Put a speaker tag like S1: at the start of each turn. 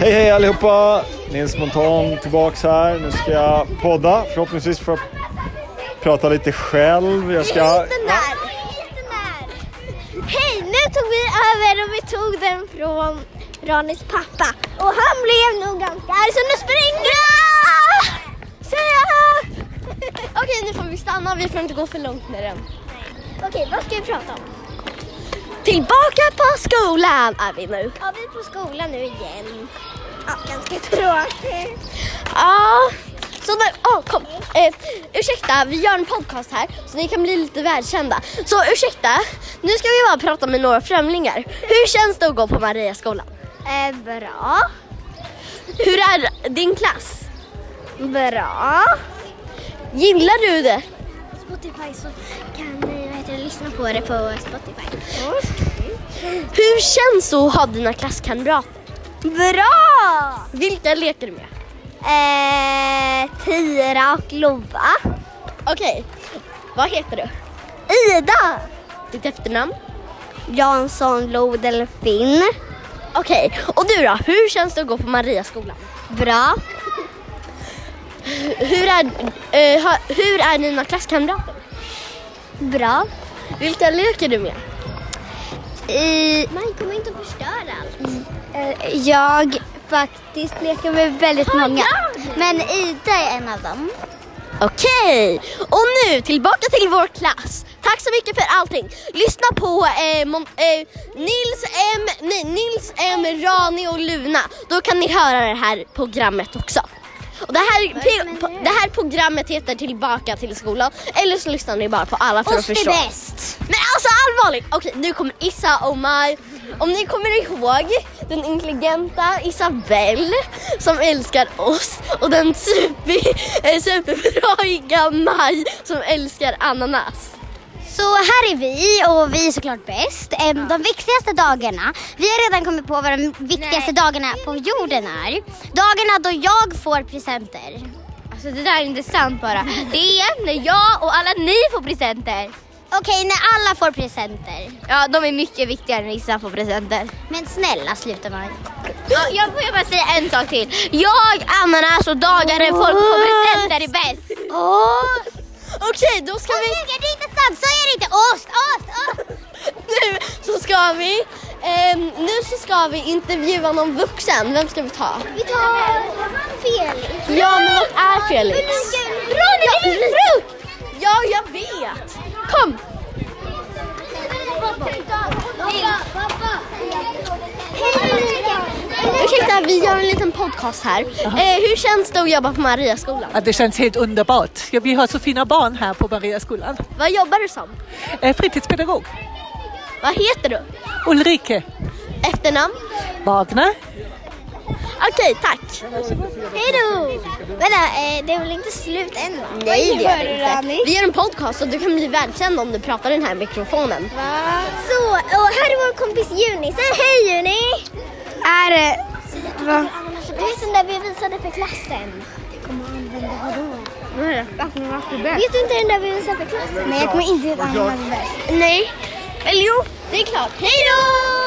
S1: Hej hej allihopa! Nils Montan tillbaks här. Nu ska jag podda. Förhoppningsvis får jag prata lite själv. Jag ska...
S2: Hit den där! Hit den där! Hej, nu tog vi över och vi tog den från Ranis pappa. Och han blev nog ganska arg så nu springer jag! Säger jag!
S3: Okej, nu får vi stanna. Vi får inte gå för långt med den.
S2: Okej, vad ska vi prata om?
S3: Tillbaka på skolan är vi nu.
S2: Ja, vi är på skolan nu igen. Ja, ganska tråkigt.
S3: Ja, så nu, åh, kom. Eh, ursäkta, vi gör en podcast här så ni kan bli lite välkända. Så ursäkta, nu ska vi bara prata med några främlingar. Hur känns det att gå på Mariaskolan?
S2: Eh, bra.
S3: Hur är din klass?
S2: Bra.
S3: Gillar du det?
S2: Spotify så kan ni vad heter det, lyssna på det på Spotify.
S3: Hur känns det att ha dina klasskamrater?
S2: Bra!
S3: Vilka leker du med?
S2: Eh, Tira och Lova.
S3: Okej, vad heter du?
S2: Ida
S3: Ditt efternamn?
S2: Jansson Lodelfin.
S3: Okej, och du då? Hur känns det att gå på Mariaskolan?
S2: Bra.
S3: Hur är, eh, ha- hur är dina klasskamrater?
S2: Bra.
S3: Vilka leker du med?
S2: I... Man kommer inte att förstöra allt. Eh, Jag faktiskt leker med väldigt många. Men Ida är en av dem.
S3: Okej, och nu tillbaka till vår klass. Tack så mycket för allting. Lyssna på eh, Mon- eh, Nils, M, nej, Nils M, Rani och Luna. Då kan ni höra det här programmet också. Och det, här, det här programmet heter Tillbaka till skolan. Eller så lyssnar ni bara på alla för att förstå.
S2: bäst.
S3: Men alltså allvarligt! Okej, nu kommer Issa och Maj. Om ni kommer ihåg den intelligenta Isabelle som älskar oss och den super, eh, superbraiga Maj som älskar ananas.
S2: Så här är vi och vi är såklart bäst. Ehm, De viktigaste dagarna, vi har redan kommit på vad de viktigaste dagarna på jorden är. Dagarna då jag får presenter.
S4: Alltså det där är inte sant bara. Det är när jag och alla ni får presenter.
S2: Okej, när alla får presenter.
S4: Ja, de är mycket viktigare än vissa får presenter.
S2: Men snälla sluta Maj.
S4: Ja, jag får bara säga en sak till. Jag, ananas och dagar när folk får presenter är bäst.
S3: Okej, då ska vi...
S2: Det är inte sant, så är det inte! Ost, ost, ost!
S3: Nu så ska vi... ehm, nu så ska vi intervjua någon vuxen. Vem ska vi ta?
S2: Vi tar Felix.
S3: Ja, men vad är Felix?
S2: Ronny,
S3: vill du frukt? Ja, jag vet. Kom! Ursäkta, vi gör en liten podcast här. Eh, hur känns det att jobba på Mariaskolan?
S5: Ja, det känns helt underbart. Ja, vi har så fina barn här på Mariaskolan.
S3: Vad jobbar du som?
S5: Eh, Fritidspedagog
S3: Vad heter du?
S5: Ulrike
S3: Efternamn?
S5: Wagner.
S3: Okej, tack.
S2: Hej då! Vänta, eh, det är väl inte slut än? va?
S3: Nej, det gör du inte. Vi gör en podcast och du kan bli välkänd om du pratar i den här mikrofonen.
S2: Så, och här är vår kompis Juni. Säg hej Juni! Är det... Du vet den där vi visade för klassen? Vet du inte den där vi visade för klassen? Nej, jag kommer inte att använda bäst. Nej.
S3: Eller jo, det är klart. Hej då!